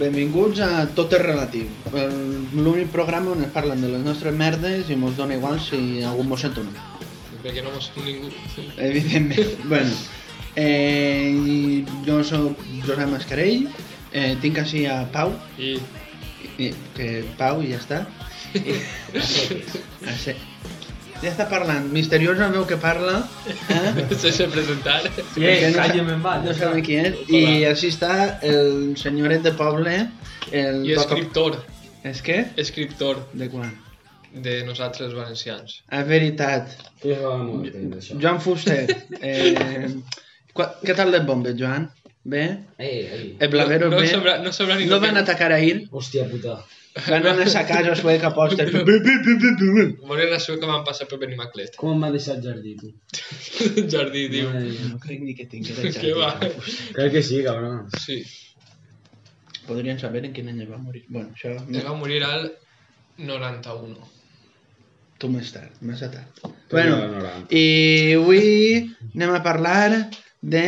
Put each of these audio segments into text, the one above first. benvinguts a Tot és relatiu, l'únic programa on es parlen de les nostres merdes i mos dona igual si algú mos sent o no. Perquè no mos sent ningú. Evidentment, bueno. Eh, jo sóc Josep Mascarell, eh, tinc així a Pau, I i, que Pau i ja està. I, així. ja està parlant, misteriós la veu que parla, eh? se sé presentar. Sí, perquè Eh, no sa- calla, me'n vaig. no sabem qui és, Hola. i així està el senyoret de poble, el I escriptor. Toca... És que? Escriptor De quan? de nosaltres els valencians. És veritat. Ja va molt entendre això. Joan Fuster. Eh, qua- què tal les bombes, Joan? Bé? Ei, ei. El blavero no, no bé? sabrà, no sabrà ni no lo que- van atacar ahir? Hòstia puta. Van anar a sa casa sueca a posta. Bu, bu, bu, bu, bu. Volia anar a que van passar per Benimaclet. Com m'ha deixat jardí, tu? Jardí, diu. Mare meva. No crec ni que tinc Què va? Crec que sí, cabrón. Sí. Podrien saber en quin any va morir. Bueno, això... Ell va morir al 91. Tu més tard, massa tard. Tu ja Bueno, no era. i avui anem a parlar de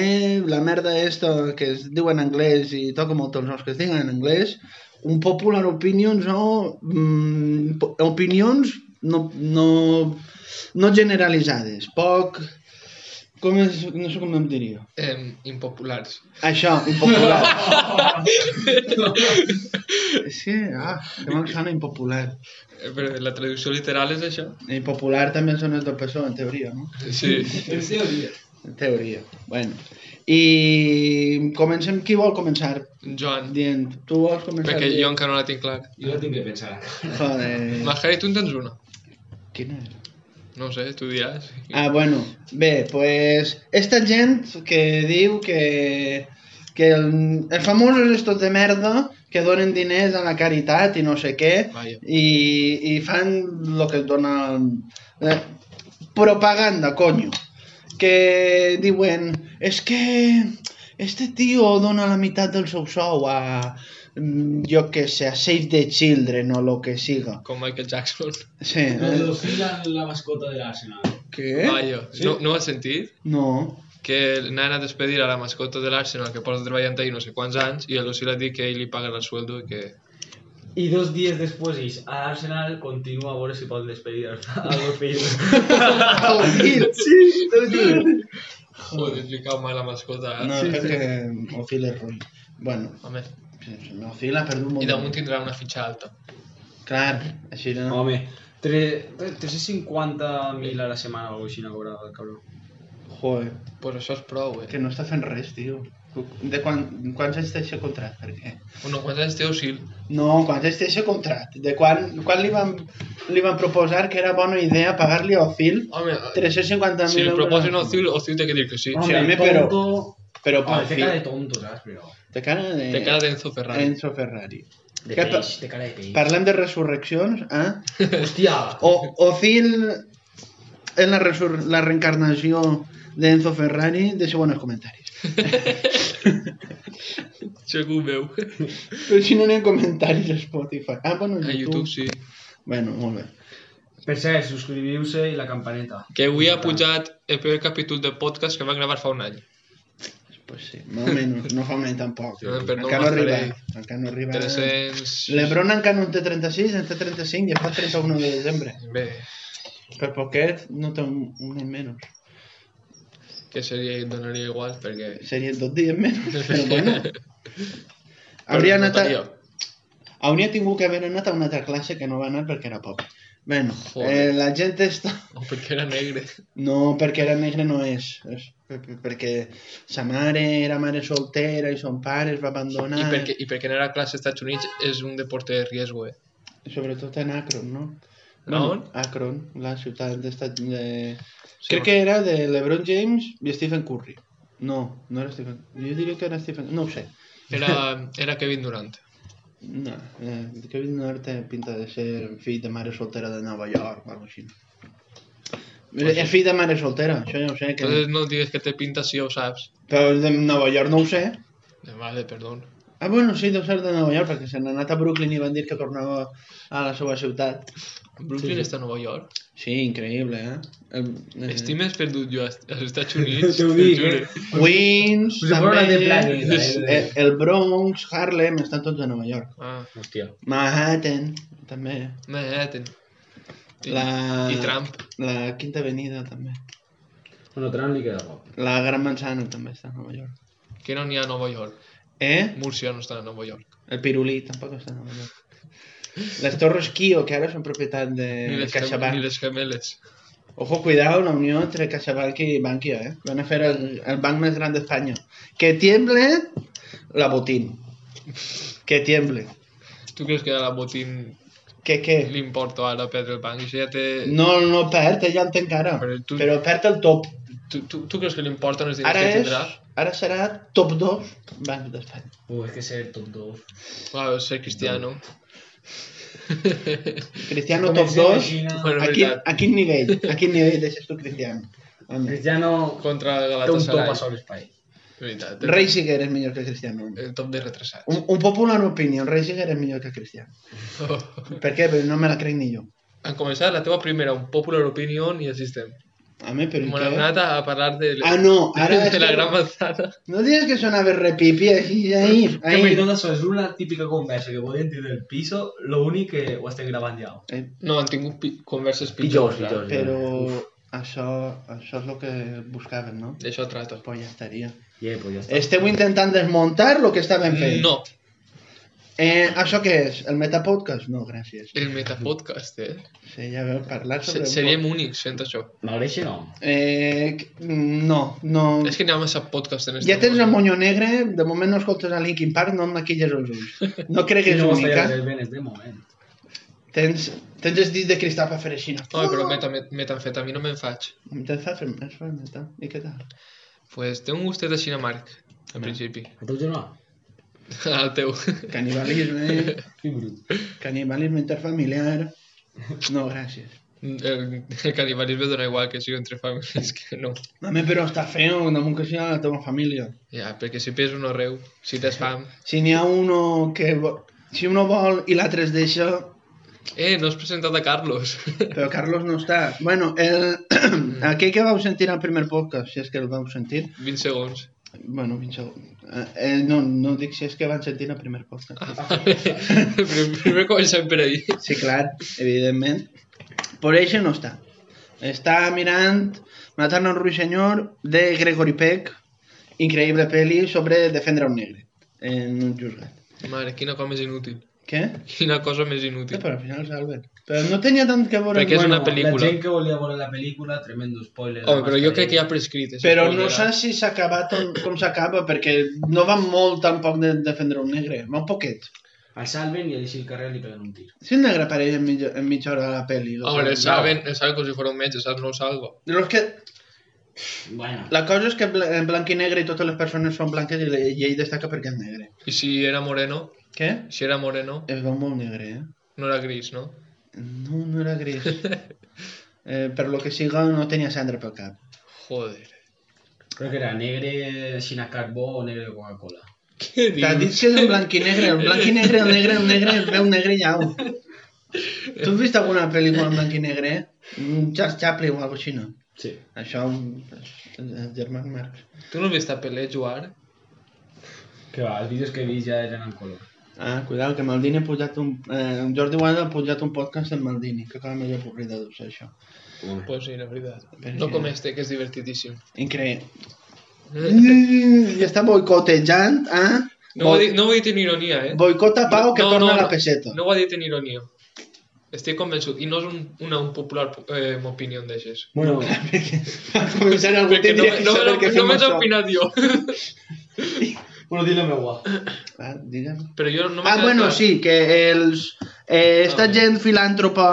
la merda esto que es diu en anglès i toca molt els noms que es diuen en anglès un popular opinions o mm, po- opinions no, no, no generalitzades poc com és, no sé com em diria Eh, impopulars. això, impopular és que, ah, que mal sona impopular Eh, Però la traducció literal és això? impopular també són els del PSOE en teoria, no? Sí. En teoria. En teoria. Bueno. I comencem. Qui vol començar? Joan. Dient, tu vols començar? Perquè jo dient- encara no la tinc clara. Jo tinc que pensar. Joder. Majari, tu en tens una? Quina era? No ho sé, tu diràs. Ah, bueno. Bé, pues... Esta gent que diu que... Que el, els famosos estos de merda que donen diners a la caritat i no sé què Vaja. i, i fan lo que et dona eh, propaganda, coño. Que diuen, és es que este tio dona la meitat del seu sou a, mm, jo que sé, a Save the Children o lo que siga. Com Michael Jackson. Sí, Pedro eh? Filan, la mascota de l'Arsenal. Què? Vaja. Sí. No, no ho has sentit? No. que n'han anat a despedir a la mascota de l'Arsenal que porta treballant ahí no sé quants anys i el Lucil ha dit que ell li paga el sueldo i que... I dos dies després, ix, a l'Arsenal continua a veure si pot despedir a los fills. Ofil! Sí, Ofil! Joder, he explicat mal la mascota. No, Sí. crec que Ofil és ruïn. Bueno, Home, Ofil ha perdut molt. i damunt tindrà una fitxa alta. Clar, així no. Home, tre- tre- 350.000 a la setmana o alguna cosa així, no cobrava el cabró. Joder. Pues això és prou, eh? Que no està fent res, tio. De quan, quants anys té aquest contracte? Perquè... Bueno, quants anys té Lucil? No, quants anys té aquest contracte? De quan, quan li, van, li van proposar que era bona idea pagar-li a Phil Home, 350.000 si li euros? proposen a Lucil, Lucil té que dir que sí. Home, però- Però per Home, té cara de Phil... tonto, saps? Però... Té cara de... Té cara d'Enzo Ferrari. Enzo Ferrari. De Què pa- peix, té cara de peix. Parlem de resurreccions, eh? Hòstia! O, o Phil en la, resur la reencarnació d'Enzo Ferrari, deixeu en els comentaris. Segur veu. Però si no n'hi ha comentaris a Spotify. Ah, bueno, A YouTube sí. Bueno, molt bé. Per cert, subscriviu-se i la campaneta. Que avui ha pujat el primer capítol de podcast que van gravar fa un any. Ah. Pues sí, más o menos, no fa un any tampoc. No, però no encara no arriba, m'esperei. encara no arriba. 300... L'Ebron encara no en té 36, en té 35 i es fa 31 de desembre. Bé, Per poquet no té un, un any menys. que seria, donaria igual, perquè... Serien dos dies menys, però bueno. Hauria, anat a, notaria. hauria tingut que haver anat a una altra classe que no va anar perquè era pobre. Bueno, Joder. eh, la gent està... O perquè era negre. No, perquè era negre no és. és per- per- perquè sa mare era mare soltera i son pare es va abandonar. Ah. I perquè, I perquè anar a classe als Estats Units és un deporte de riesgo, eh? Sobretot en Akron, no? A on? Akron, la ciutat d'estat de... Sí, Crec que era de LeBron James i Stephen Curry. No, no era Stephen... Jo diria que era Stephen... No ho sé. Era, era Kevin Durant. No, eh, Kevin Durant té pinta de ser fill de mare soltera de Nova York o alguna així. Mira, És fill de mare soltera, això ja ho sé, que... Entonces no digues que te pinta si ja ho saps. però de Nova York no ho sé. Eh, Vale, perdón. Ah, bueno, sí, deu ser de Nova York, perquè se n'ha anat a Brooklyn i van dir que tornava a la seva ciutat. Brooklyn està a Nova York. Sí, increïble, eh? El, eh. Estic més perdut jo als als Estats Units. Mhm. T'ho dic, jure. eh? Queens, Us ho també, fora de planeta, eh? el, el Bronx, Harlem, estan tots a Nova York. Ah, Hòstia. Manhattan, també. Manhattan. I, Ah. La- I Trump. La Quinta Avenida, també. Bueno, Trump li queda poc. La Gran Manzana, també està a Nova York. Que no n'hi ha a Nova York. Eh? Múrcia no està a Nova York. El Pirulí, tampoc està a Nova York. Les Torres Kio, que ara són propietat Eh, Ni de les, cam- ni CaixaBank. les gemeles. Ojo, cuidado, la unió entre CaixaBank i Bankia, eh? Van a fer el, el banc més gran d'Espanya. Que tiemble la botín. Que tiemble. Tu creus que a la Botín Que, que... li importa ara perdre el banc? I si ja té... Mm. No, no perd, ella en té encara. Però tu- Però perd el top. Tu, tu, tu creus que li importen els diners Ara que és... tindrà? Ara serà top 2 banc d'Espanya. Uh, és que ser top 2. Uau, ser cristiano. Cristiano top 2. Bueno, A quin, veritat. a quin nivell? A quin nivell deixes tu Cristiano? Home. Cristiano Contra té un top a Galatasaray. sols per ell. Veritat. eh? Rei Siguer és millor que Cristiano. El top de retrasats. Un, un popular opinion, Rei Siguer és millor que Cristiano. Per què? Perquè no me la crec ni jo. Han començat la teva primera, un popular opinion i assistem. Home, però i M'han què? anat a parlar de, Ah, no, ara de és la que- gran manzana. No digues que sonava repipi així, ahir, Que me ahir. dona això, és una típica conversa que podem tenir del piso, lo únic que ho estem gravant ja. Eh, No, han tingut pi converses pitjors. Pitjors, clar. pitjors. però això, això és el que buscàvem, no? D'això trato. Pues ja estaria. Yeah, pues ja està. Esteu intentant desmuntar el que estàvem fent. No, Eh, això què és? El Metapodcast? No, gràcies. el metapodcast, eh? Sí, ja vam parlar Se sobre... seríem únics fent això. M'agreixi no? Eh, c- no, no... És que n'hi ha massa podcast en este Mm. Ja tens el món. monyo negre, de moment no escoltes a Linkin Park, no em maquilles els ulls. No crec que és no ho estaré única. resolvent de moment. Tens, tens els dits de cristal per fer així. No? Ai, però meta, met- metamfetamina me'n faig. Tens fer més fermeta. I què tal? pues té un gustet de xinamarc, Mm. al principi. A teu germà? El teu. Canibalisme, Sí, brut. canibalisme eh. interfamiliar. No, gràcies. El, el canibalisme dona igual que sigui entre famílies que no. Home, però està feo, damunt que sigui la teva família. Ja, perquè si pes un arreu, si tens fam... Si n'hi ha uno que... vo- Si uno vol i l'altre es deixa, Eh, no has presentat a Carlos. però Carlos no està. Bueno, el... aquell que vau sentir al primer podcast, si és que el vau sentir, 20 segons. bueno, fins segur. Eh, eh, no, no dic si és que van sentir el primer podcast. Primer, primer comencem per ahir. Sí, clar, evidentment. Por això no està. Està mirant Matant un ruixenyor de Gregory Peck, increïble pel·li sobre defendre un negre en un juzgat. Mare, quina cosa més inútil. Què? Quina cosa més Sí, inútil. però al final és Albert. Però no tenia tant que veure... Perquè és una La pel·lícula. gent que volia veure la pel·lícula, tremendo spoiler. Home, però jo Mascarell. crec que ja ha prescrit. és Però no spoiler, sé si s'ha acabat on, com s'acaba, perquè no va molt tampoc de defendre un negre, va un poquet. El salven i a l'eixir al carrer li peguen un tir. Si el negre apareix en mitja, en mitja hora de la pel·li... Ah, Home, el saben, el saben com si fos un metge, saps? No ho salgo. Però és que Bueno, la cosa és que bla- en blanc i negre i totes les persones són blanques i, le- i ell destaca perquè és negre. I si era moreno, Què? si era moreno, Es veu molt negre, eh? no era gris, no? No, no era gris. eh, per lo que siga, no tenia cendra pel cap. Joder. crec que era negre Xina Carbó o negre Coca-Cola. Què T'has dit que és en blanc i negre, el blanc i negre, el negre, el negre, es veu negre i au. Tu has vist alguna pel·lícula en blanc i negre? eh? Un Charles Chaplin o alguna cosa així, no? Sí. Això, el germà Marx. Tu no has vist a Pelé jugar? Que va, els vídeos que he vist ja eren en color. Ah, cuidado, que Maldini ha pujat un... Eh, en Jordi Guada ha pujat un podcast amb Maldini, que acaba millor avorrida de ser això. Mm. Pues sí, la veritat. Però No sí. com este, que és divertidíssim. Increïble. Eh. I està boicotejant, eh? No ho, he dit, no ho he dit en ironia, eh? Boicota Pau que torna a la peseta. No ho ha dit en ironia. Estic convençut. I no és un, una un popular eh, opinió d'aixes. Bueno, Començar algú Perquè no, tindria que no, saber no, què fem només he això. opinat jo. bueno, dile meu guà. Ah, digue'm. Però jo no m'he Ah, quedat bueno, clar. sí, que els, Eh, esta Ah, gent filàntropa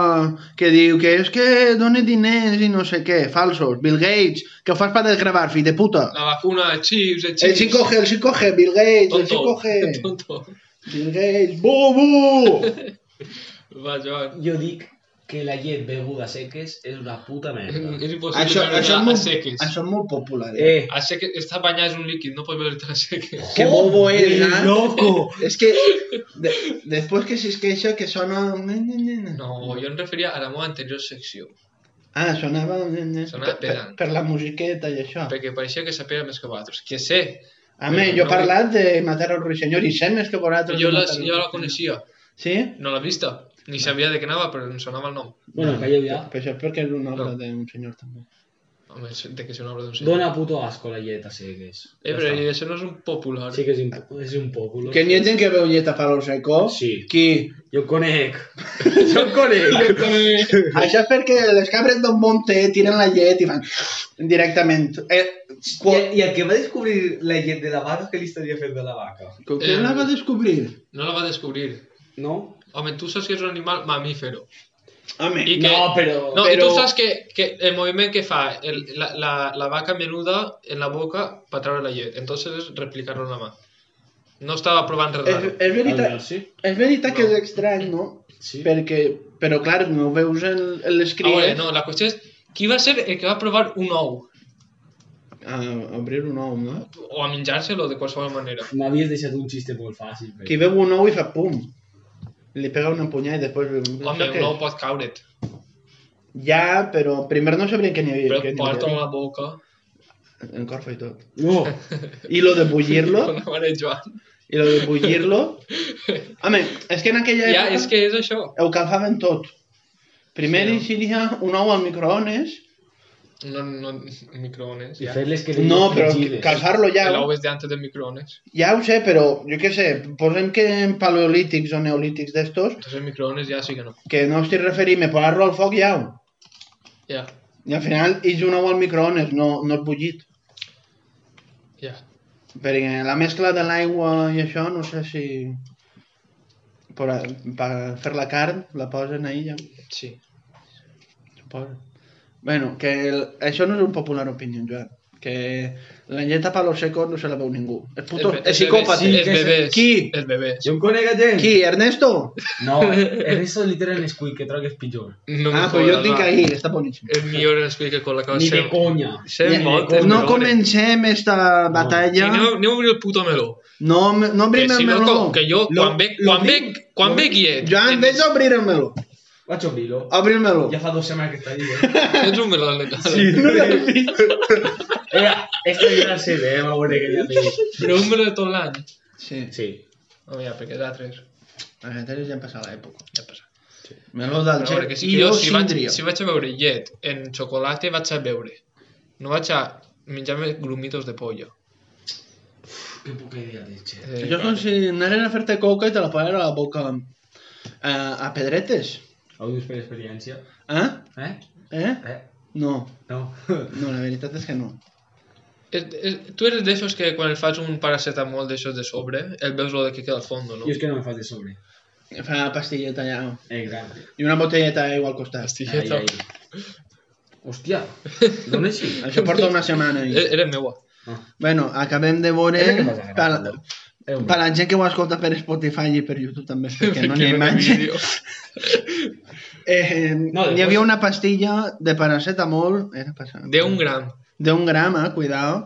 que diu que és que dona diners i no sé què, falsos, Bill Gates, que ho fas per desgravar, fill de puta. La vacuna, chips, eh, El chips. 5G, el 5G, Bill Gates, el Tonto. 5G, Tonto. Pues Bill Gates, bu, bu! Va, Joan. Jo dic que la llet beguda a seques és una puta merda. És impossible Això, veure això, és a molt, seques. això és molt popular. Eh? Eh, A seques, està banyat és un líquid, no pots veure a seques. Que bobo és, eh? loco! És que de, després que es queixa que sona... No, jo em referia a la meva anterior secció, Ah, sonava... Sonava per, pedant. per, la musiqueta i això. perquè pareixia que sapia més que vosaltres. Que sé, A més, jo he No, parlat de matar al ruixenyor i sé més que vosaltres. jo de la, Matar al jo Ruixenyor. la coneixia, Sí? no l'he vista, ni sabia de què anava, però em sonava el nom. Bueno, calleu ja. Però això és perquè és una obra No. d'un senyor també. Home, de que és una obra d'un senyor. Dona puto asco la llet a seques. Eh, Ja però està. això no és un popular. Sí que és, imp és un poco. Que n'hi ha gent que veu llet a Palo Seco. Sí. Qui? Jo conec. jo conec. Això és perquè les cabres d'un monte tiren la llet i fan directament. Eh, I, qual... I el que va descobrir la llet de la vaca, què li estaria fent de la vaca? Com que la Eh. va descobrir? No la va descobrir. No? Home, tu saps que és un animal mamífero. Home, I que... No, però- No, però- i tu saps que, que el moviment que fa el, la, la, la vaca menuda en la boca per treure la llet. Entonces és replicar-lo amb la mà. No estava provant res és, raro. és veritat, Sí. és veritat que No. és estrany, no? Sí. Perquè, però clar, no ho veus en, en les Ah, bueno, cries. no, la qüestió és qui va ser el que va provar un ou? A obrir un ou, no? O a menjar-se-lo de qualsevol manera. M'havies deixat un xiste molt fàcil. Però... Qui veu un ou i fa pum. Li pega una empunyada i després... Home, un ou pot caure't. Ja, però primer no sabrien que n'hi havia. Però que n'hi porta-lo a havia. la boca. En corfa i tot. No. I lo de bullir-lo, Bona mare, Joan. i lo de bullir-lo... Home, és que en aquella Ja, és que és això. ho calfaven tot. Primer Sí, sí, no? incidia un ou al microones, No, no, microones. I Ja. fer-les que no, però calfar-lo ja, L'ou és d'antes del microones. ja ho sé, però jo què sé, posem que en paleolítics o neolítics d'estos, Entonces el microones ja sí que no. que no estic referint-me, posar-lo al foc ja, Ja, i al final és un ou al microones, no, no és bullit. ja. Perquè la mescla de l'aigua i això, no sé si... Per, a- per fer la carn, la posen ahí ja, Sí. suposo. Bueno, que el, això no és un popular opinió, Joan. Que la lleta palo seco no se la veu ningú. És puto, és El- el bebè- psicòpata. sí, que Els és- bebès. Qui? Els bebès. Jo en conec a gent. Qui, Ernesto? No, és això literal en Squid, que troc que és pitjor. No Ah, me però jo jodas, et dic va. ahir, està boníssim. És millor ens explica con la cosa. Ni de conya. Sem Ja, molt. No comencem esta Ja. batalla. Aneu, aneu a obrir el puto meló. No, me- no Que obrim si el no, meló. com que jo, Lo- quan bec, lo quan dic- bec, quan lo- bec llet. Joan, vés a obrir el meló. Vaig a obrir-lo. Obri el meló. Ja fa dues setmanes que ¿eh? està allà. Tens un meló letal. Sí. No l'has vist? Eh, esta és la seva, eh, va veure que ja té. Però un meló de tot l'any. Sí, Sí. Oh, ja, perquè d'altres les antenes ja han passat l'època. ja passa. Meló del Però a veure, que Xec sí i que jo, jo si vaig, síndrio. si vaig a beure llet en xocolata, vaig a beure. No vaig a menjar-me grumitos de pollo. Que puc idea de xe. Eh, Això és com si anaren a fer-te coca i te la posaven a la boca eh, a pedretes. Ho dius per experiència? Eh? Eh? Eh? Eh? No, No. no, la veritat és que no. És, és, tu eres d'aixòs que quan el fas un paracetamol d'aixòs de sobre, el veus lo de que queda al fons, no? Jo és que no em fas de sobre. Fa una pastilleta allà Exacte. i una botelleta d'aigua al costat. Ai, Pastilleta. ai. Hòstia, d'on és així? Això porta una setmana. I... E- Era meua. Ah, Bueno, acabem de veure... És el que m'has agradat, Per, no? Eh, per la gent que ho escolta per Spotify i per YouTube també, perquè no n'hi ha imatge. vídeo. Eh, No, hi després- havia una pastilla de paracetamol... Era paracetamol. De un gram. D'un gram, eh? Cuidao.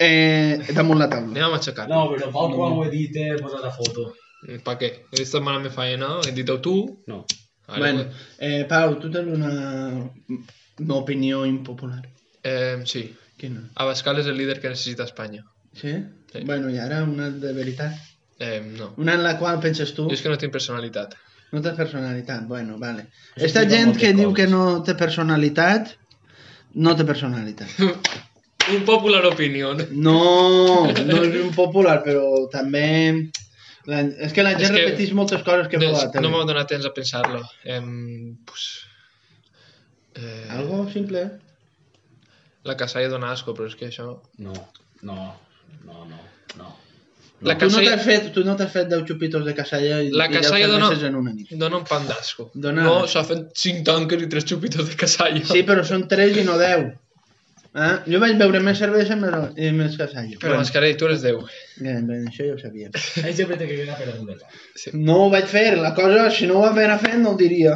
Eh, damunt la taula. Anem a matxacar. No, però Pau quan ho he dit, eh, posa la foto. Per què? He estat malament feina, he dit tu. No. Ara, bueno, eh, Pau, tu tens una, una opinió impopular. Eh, sí. Quina? Abascal és el líder que necessita Espanya. Sí? Sí. Bueno, i ara una de veritat. Eh, no. Una en la qual penses tu, Jo és que no tinc personalitat. no té personalitat. Bueno, vale. Això Esta explica gent que moltes diu que coses. no té personalitat, no té personalitat. Un popular opinion. No, no és un popular, però també... La, és que la És gent que- repeteix moltes coses que fa Des- la tele. no m'ha donat temps a pensar-la. Em, pues, eh, Algo simple. La casalla dona asco, però és que això... No. No. No, no. No. La tu no casalla- t'has fet, tu no t'has fet 10 xupitos de casalla i, La i deu casalla dona- cerveses en una nit. Dona un pan d'asco. Dona- No, s'ha fet 5 tanques i 3 xupitos de casalla. Sí, però són 3 i no 10. Eh? Jo vaig beure més cervesa i més- i més casalla. Però bueno. Mascarell, tu eres Déu. Bé, bé, això ja ho sabia. Ell sempre té que quedar per damunt del cap. No ho vaig fer, la cosa, si no ho haguera fet no ho diria.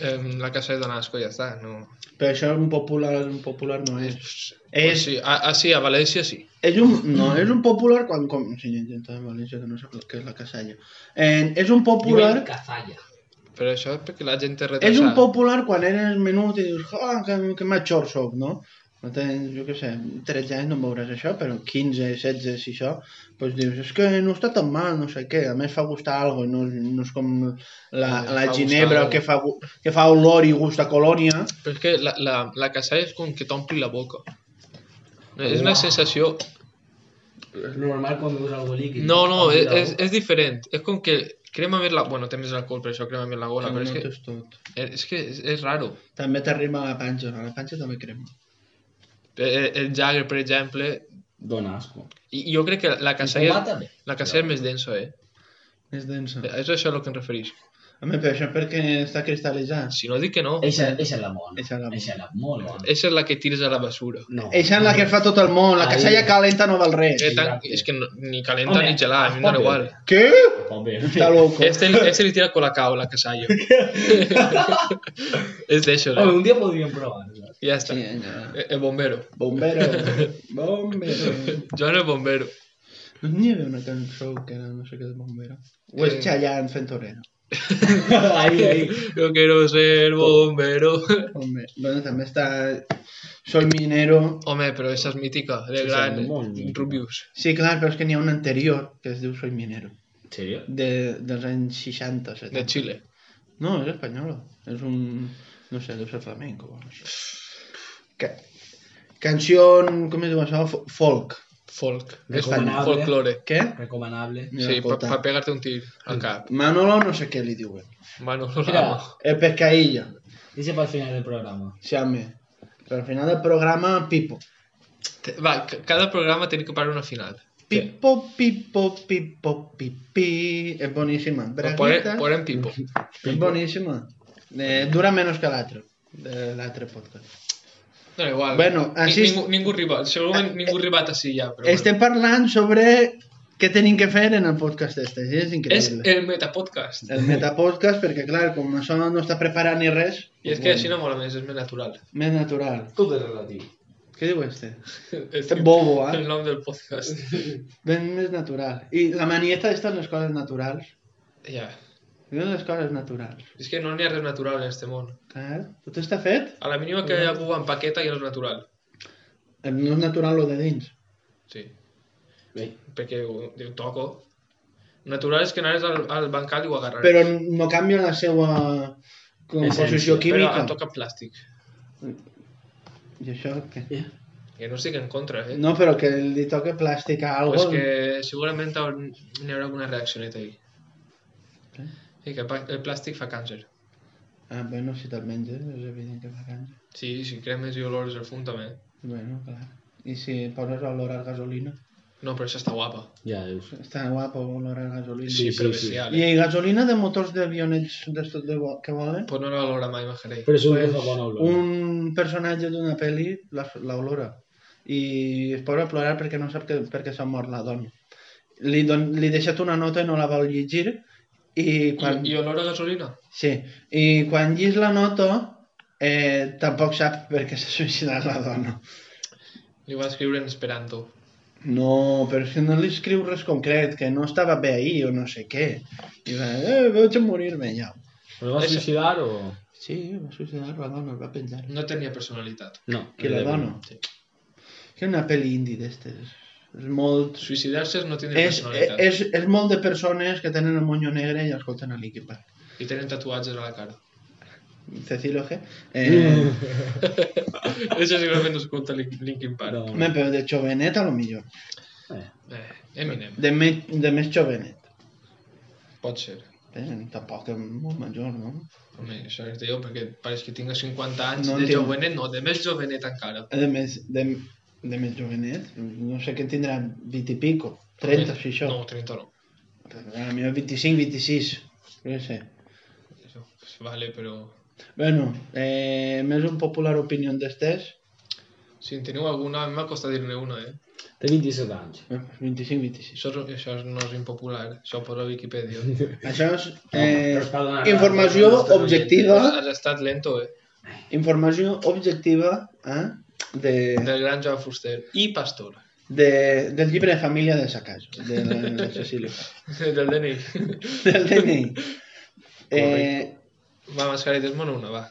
Eh, la casalla dona asco, ja està. No. Però això un popular, un popular no és. Pues És, sí, a, a, sí, a València sí. és un, no, és un popular quan... Com, si hi ha gent de València que no sap el que és la casalla. Eh, és un popular... Diuen cazalla. Però això és perquè la gent és retrasada. És un popular quan eres menut i dius, ah, que, que matxor soc, no? No tens, jo què sé, 13 anys no em veuràs això, però 15, 16, si això, doncs dius, és que no està tan mal, no sé què, a més fa gustar algo, no, és- no és com la, la Eh, Fa ginebra gustar que fa, gu- que fa olor i gust a colònia. Però és que la, la, la casalla és com que t'ompli la boca. És una sensació... Es normal cuando usas algo líquido. No, no, és, Cuidado. és, és diferent. És com que crema més la... Bueno, té més alcohol, per això crema més la gola, però és que, eh, Notes tot. és, que és, és raro. També t'arriba a la panxa, a la panxa també crema. El, Eh, el Jagger, per exemple, Dona asco. i i jo crec que la Fumar casella, també. la casella és més densa, eh? És densa. És això el que em referís. A mi, però això perquè està cristal·litzat. Si no dic que no, Eh. Eixa, eixa és la bona. Eixa és la bona. Eixa és la molt bona. esa és la que tires a la basura. No. Eixa és la que fa tot el món, la Ahí. casalla calenta no val res. Que tan, Exacte. és que no, ni calenta Home, ni gelada, a mi em dona pot igual. bé. Què? Pot bé. Està loco. Este, este li tira colacao, la casalla. és d'això, Hombre, eh? un día podrían probar. ¿sabes? Ja està. Sí, ja. Eh, El bombero. Bombero. Bombero. Joan el bombero. No n'hi havia una cançó que era no sé què de bombero. O és Eh. Chayanne fent torero. Ahí, ahí. Yo quiero ser bombero. Bombe- Bueno, també està... Soy minero. Home, però esa és mítica, de Sí, gran sí, molt mítica. Rubius. Sí, clar, però és que n'hi ha una anterior que es diu Soy minero. En sèrio? De, dels anys 60, de 70. Chile. No, és espanyola. És un... No sé, deu ser flamenco. o alguna cosa així. Ca... Canció... Com es diu això? F- Folk. Folk. És Recomanable. folklore. Què? Recomanable. Mira, Sí, per escolta. pa pegar-te un tir al cap. Manolo no sé què li diuen. Bueno, Mira, El pescaïlla. dice para el final del programa. Xame. Però al final del programa, Pipo. te- va, ca- cada programa tiene que parar una final. Pipo, pipo, pipo, pipi. És boníssima. Pues Bragueta, Ponen, ponen pipo. e- és boníssima. Eh, dura menys que l'altre. De l'altre podcast. No, igual. Bueno, Este Ni- així- Ningú, ningú arriba, segurament ningú arriba a sí ja, però Estem parlant sobre què tenim que fer en el podcast este. Sí, és bueno. És increïble. el metapodcast. el metapodcast perquè, clar, com això no està preparat ni res, doncs, I és que així no mola més, és més natural. més natural. Todo es relativo. Què diu este? És Este bobo, el eh? nom del podcast. Ben més natural. I la manieta d'estes les coses naturals. Ja. Jo les coses naturals. És que no n'hi ha res natural en este món. Eh? Tot està fet? A la mínima que algú empaqueta ja no és natural. No és natural lo de dins. Sí. Bé, perquè ho, diu, toco. Natural és que anaves al, al bancal i ho agarraves. Però no canvia la seva composició Essència, Doncs- Però química. em toca plàstic. I això què? Que no estic en contra, eh? No, No, però que li toca plàstic a algo. pues que segurament hau- n'hi haurà alguna reaccioneta ahí. Què? Sí, que el pa- el plàstic fa càncer. Ah, bueno, si te'l menges, és evident que fa càncer. Sí, si cremes i olores el fum també. Bueno, clar. I si poses olor a gasolina? No, però això està guapa. ja veus. Està guapo olor a gasolina. sí, Sí, però sí. bestial. I Eh? gasolina de motors d'avionets d'estos de vo- que volen? Pues no l'olora mai, Majarei. Però és un Pues, cosa bona olor. un personatge d'una pel·li la- l'olora i es posa a plorar perquè no sap que, perquè s'ha mort la dona. Li, don, li ha deixat una nota i no la vol llegir i quan, I, I olor a gasolina? sí, i quan llis la nota eh, tampoc sap perquè s'ha suïcidat la dona. Li va escriure en esperanto. No, però si no li escriu res concret, que no estava bé ahir o no sé què. I va, eh, vaig a morir-me ja. Però va Ese- suïcidar o...? Sí, va suïcidar la dona, el va penjar. No tenia personalitat. No. Que Eh, la dona. Sí. Que una pel·li indie d'estes. És molt... Suïcidar-se és no tindre És, personalitat. és, és molt de persones que tenen el moño negre i escolten a Linkin Park. I tenen tatuatges a la cara. Cecilio G. Eh, Això segurament no es compta Lin- Linkin Park. No. me però de jovenet a lo millor. Eh, Eh, Eminem, De, me, de més jovenet. pot ser. Eh, tampoc és molt major, no? Home, això és teu perquè pareix que tinga 50 anys No no de entenc. jovenet, no, de més jovenet encara. A Eh, més, de, de més jovenet, no sé què tindrà 20 i pico, 30, si això. No, 30 no. Però a mi 25, 26, no sé. Eso, pues vale, pero... Bueno, eh, més un popular opinió d'estes, Si en teniu alguna, a mi m'ha costat dir-ne una, eh? Té 27 anys. eh, 25, 26. Això, és- això no és impopular, això per la Wikipedia. Això és però eh, es pot donar informació raó, però no està objectiva, Has estat lento, eh? informació objectiva eh, de, Del gran Joan Fuster i Pastor, de, del llibre de família de Sacas, de, la- de Cecília, del DNI. del DNI. Eh, Va, Mascari, des-me'n una, va.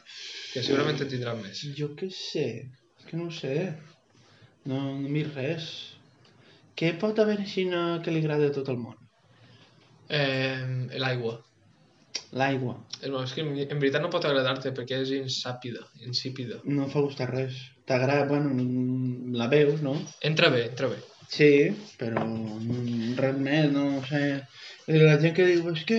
Que segurament en tindran més. Jo què sé, és que no ho sé. No, no miro res. Què pot haver així no, que li agrada a tot el món? Eh, L'aigua. L'aigua. És, bo, és que en, en veritat no pot agradar-te perquè és insàpida, insípida. No em fa gustar res. T'agrada, bueno, mm, la veus, no? Entra bé, entra bé. Sí, però mm, res més, no, ho sé. I la gent que diu, és que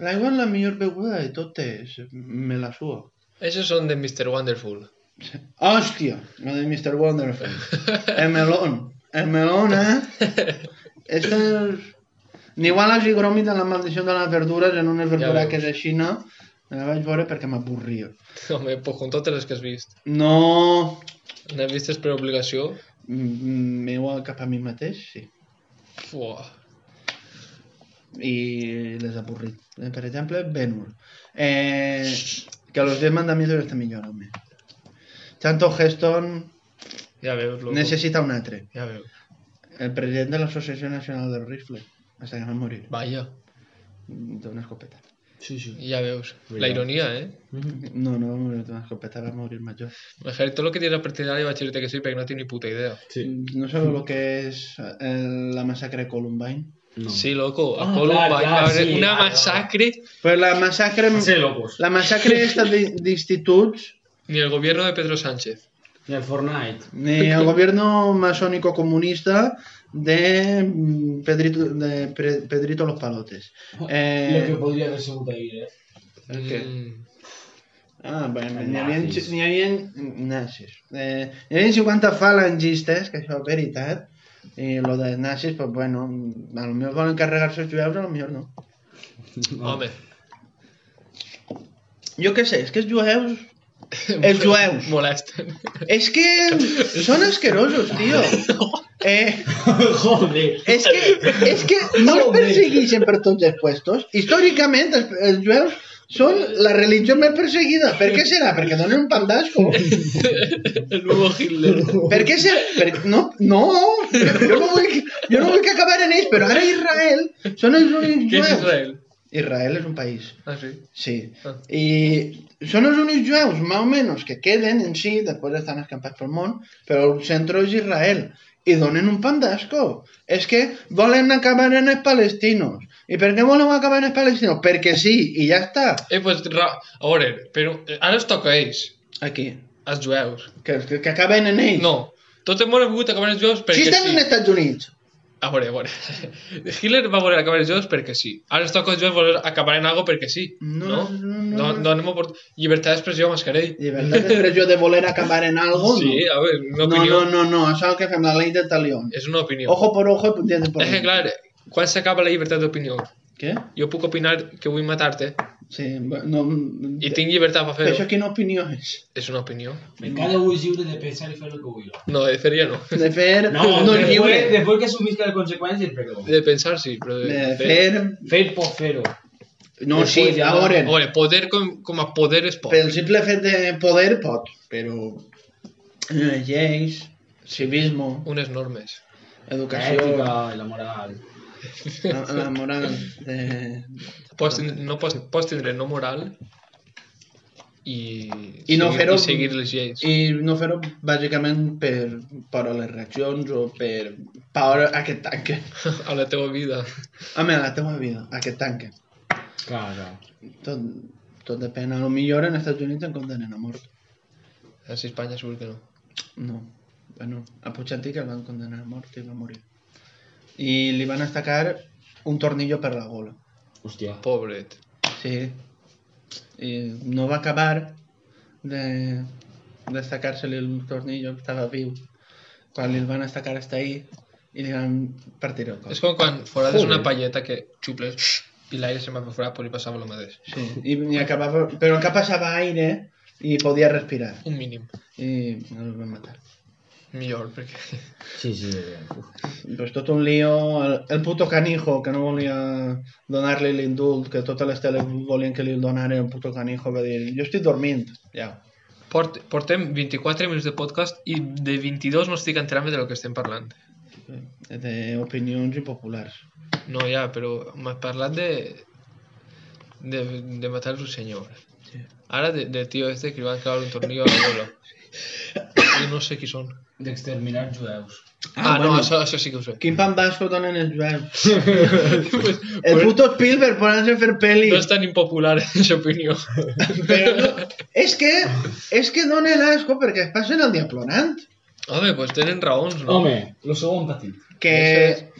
l'aigua és la millor beguda de totes, me la sua. Aquests són de Mr. Wonderful. Hòstia, la de Mr. Wonderful. El melón. El melón, eh? Este és... Ni igual a Gigromi de la maldició de les verdures en una verdura veus. que és de Xina, la vaig veure perquè m'avorria. Home, pues, con totes les que has vist. No... N'has vistes per obligació? mm, Meu cap a mi mateix, sí. Fuà. I les avorrit. Eh, Per exemple, Benur. Eh, que los 10 mandamientos està millor, home. Chanto Heston Ja veus, loco. necessita un altre. Ja veus. El president de l'Associació Nacional del Rifle. Hasta que va morir. Vaja. D'una escopeta. Sí, sí. Ja veus. La ironia, eh? No, no va morir d'una escopeta, va morir major. Imagina't tot el que tens a partir d'ara i vaig dir-te que sí perquè no tinc ni puta idea. Sí. No sabeu el que és eh, la massacre de Columbine? No. Sí, loco, a Ah, Columbine clar, clar, va haver sí, una clar, clar. massacre Pues la massacre... Sé locos. La massacre esta d'in- d'instituts ni el gobierno de Pedro Sánchez. I el Fortnite. ni eh, el gobierno masónico comunista de mm, Pedrito, de Pre- Pedrito los Palotes. El que Eh, podria haver sigut ahir, eh? El què? Mm, ah, bueno, n'hi havia, Nazis. n'hi havia nazis. Eh, n'hi havia 50 falangistes, que això és veritat, i lo de nazis, pues bueno, a lo millor volen carregar-se els jueus, a lo millor no. Home, Jo què sé, és que els jueus... Els jueus. molesten. És que són asquerosos, tio. Eh, Joder. és, que, és que no els persegueixen per tots els puestos. Històricament, els, els jueus són la religió més perseguida. Per què serà? Perquè donen un pan d'asco. El nuevo Hitler. Per què serà? Per... No, no. Jo no, vull, jo no vull que acabar en ells, però ara Israel són els únics Què és jueus. Israel? Israel és un país. Ah, sí. Sí. Ah. I són els únics jueus, més o menys, que queden en si, després estan escampats pel món, però el centre és Israel. I donen un pan d'asco. És que volen acabar en els palestinos. I per què volen acabar en els palestinos? Perquè sí, i ja està. Eh, pues, ra... a veure, però eh, ara es toca a ells, Aquí. els jueus. Que, que, que acaben en ells. No, tot el món ha volgut acabar els si jueus perquè estan sí. als Estats Units. A veure, a veure. Hitler va voler acabar els jueus perquè sí. Ara es toca als jueus voler acabar en algo perquè sí. No, no, no, no, no, no. no, anem a port- Llibertat d'expressió, mascarell. Llibertat d'expressió de voler acabar en algo. Sí, a veure, una no, no, opinió. no, no, no, això és el que fem, la llei de talión. És una opinió. Ojo por ojo, puntete por És que, clar, quan s'acaba la llibertat d'opinió? Què? Jo puc opinar que vull matar-te Sí, no... i tinc llibertat per fer-ho. Això quina opinió és? És una opinió. Mm. Me cada un lliure de pensar i fer el que vull. No, de fer ja no. De fer... No, Eh, no és después, lliure. después que assumisca les conseqüències, però... De pensar sí, però de, De fer... Fer por fer-ho. No, Després sí, ja a no. veure, A veure, poder com, com a poder es pot. pel simple fet de poder pot, però eh, lleis, civisme, Unes normes. educació, Ètica, la moral... la, la moral... Eh, Pots, ten- no pots, pots tindre no moral i, I no seguir, fer-ho- i seguir les lleis. I no fer-ho bàsicament per, per a les reaccions o per por a que et tanque. A la teva vida. Home, a la teva vida, a que et tanque. Clar, clar. Tot, tot depèn. A lo millor en Estats Units en condenen a mort. A Espanya segur que no. No. Bueno, a Puigcertí que el van condenar a mort i va morir. I li van estacar un tornillo per la gola. Hòstia. Pobret. Sí. I no va acabar de destacar-se-li el tornillo, estava viu. quan li el van estacar hasta ahí i li van partir el cos. És com quan forades Joder. una palleta que xuples i l'aire se'n va per fora, però li passava el mateix. Sí, i, i acabava... Però que passava aire i podia respirar. Un mínim. I el van matar. Millor, perquè... Sí, sí. uf. Pues tot un lío, el, el puto canijo que no volia donar-li l'indult, que totes les teles volien que li el donaren, el puto canijo va dir, jo estic dormint, ja. Port, portem 24 minuts de podcast i de 22 no estic enterant de lo que estem parlant. D'opinions Eh, impopulars. No, ja, però m'has parlat de... de, de matar el senyor. Sí. Ara de, de tio este que li van clavar un tornillo a la bola. I no sé qui són. D'exterminar jueus. Ah, ah bueno. no, això, això sí que ho sé. Quin pan basco donen els jueus? pues, El puto Spielberg posant-se a fer No pel·lis. és tan impopular, en sa opinió. Però no, és que, és que donen asco perquè es passen el dia plorant. Home, pues tenen raons, no? Home, lo segon petit. Que,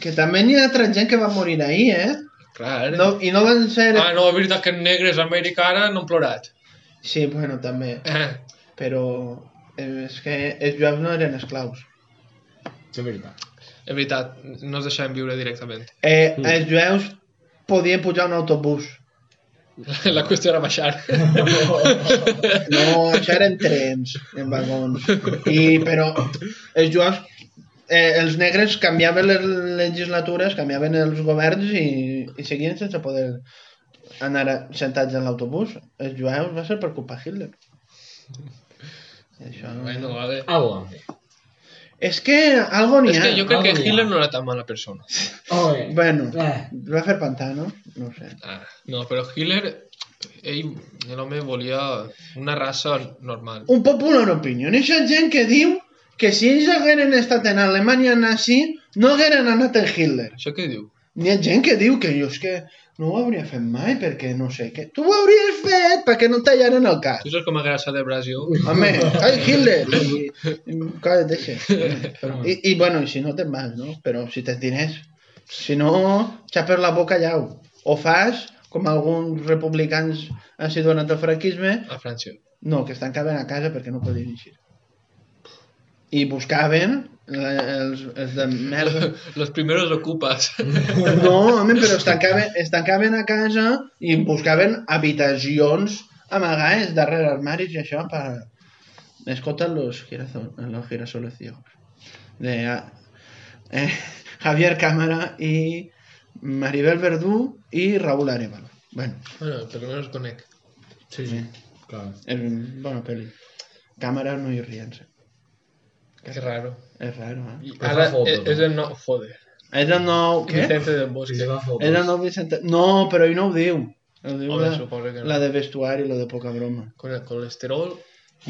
que també n'hi ha altra gent que va morir ahir, eh? Clar. No, I no van ser... Ah, no, és veritat que negres a Amèrica ara no han plorat. Sí, bueno, també. Eh, Però eh, és que els jueus no eren esclaus. Això és veritat. és veritat, no es deixaven viure directament. Eh, Mm. els jueus podien pujar a un autobús. La qüestió era baixar. No, això eren trens, en vagons. I, però els jueus, eh, els negres canviaven les legislatures, canviaven els governs i, i seguien sense poder anar a- sentats en l'autobús. Els jueus va ser per culpa de Hitler. Això no... Bueno, vale. Algo van fer. És que algo n'hi És ha. que jo crec que algo hi ha. Hitler no era tan mala persona. Home. Bueno, Eh, va fer pantano, no ho sé. Ah, no, però Hitler, ell, l'home volia una raça normal. un popular opinion. Això és gent que diu que si ells hagueren estat en Alemanya nazi, no hagueren anat en Hitler. Això què diu? N'hi ha gent que diu que jo és que no ho hauria fet mai perquè no sé què. Tu ho hauries fet perquè no et tallaren el cas. Tu saps com m'agrada de Brasil? Home, ai, Hitler! I, i, calla, deixa. Però- I, I, bueno, i si no te'n vas, no? Però si tens diners. Si no, xapes la boca llau. O fas, com alguns republicans han sigut durant el franquisme, A França. no, que es tancaven a casa perquè no podien eixir. I buscaven la, els, els de merda. Los primeros ocupas. No, home, però es tancaven, es tancaven a casa i buscaven habitacions amagades darrere armaris i això per... Escolta los, girazo- los girasoles ciegos. De ah, eh, Javier Cámara i Maribel Verdú i Raúl Arevalo. Bueno, Bueno, per lo menos conec. Sí, sí. clar. és una bona pel·li. Cámara no hi riense. Que raro. És raro, eh? I Però ara fa fotos, eh, és no? el no... Joder. És el nou... Què? Vicente del Si Bosque. se fa fotos. És el nou Vicente... Pues No, però ell no ho diu. Ho diu Home, la, suposo que no. la de vestuari, la de poca broma. Con el colesterol,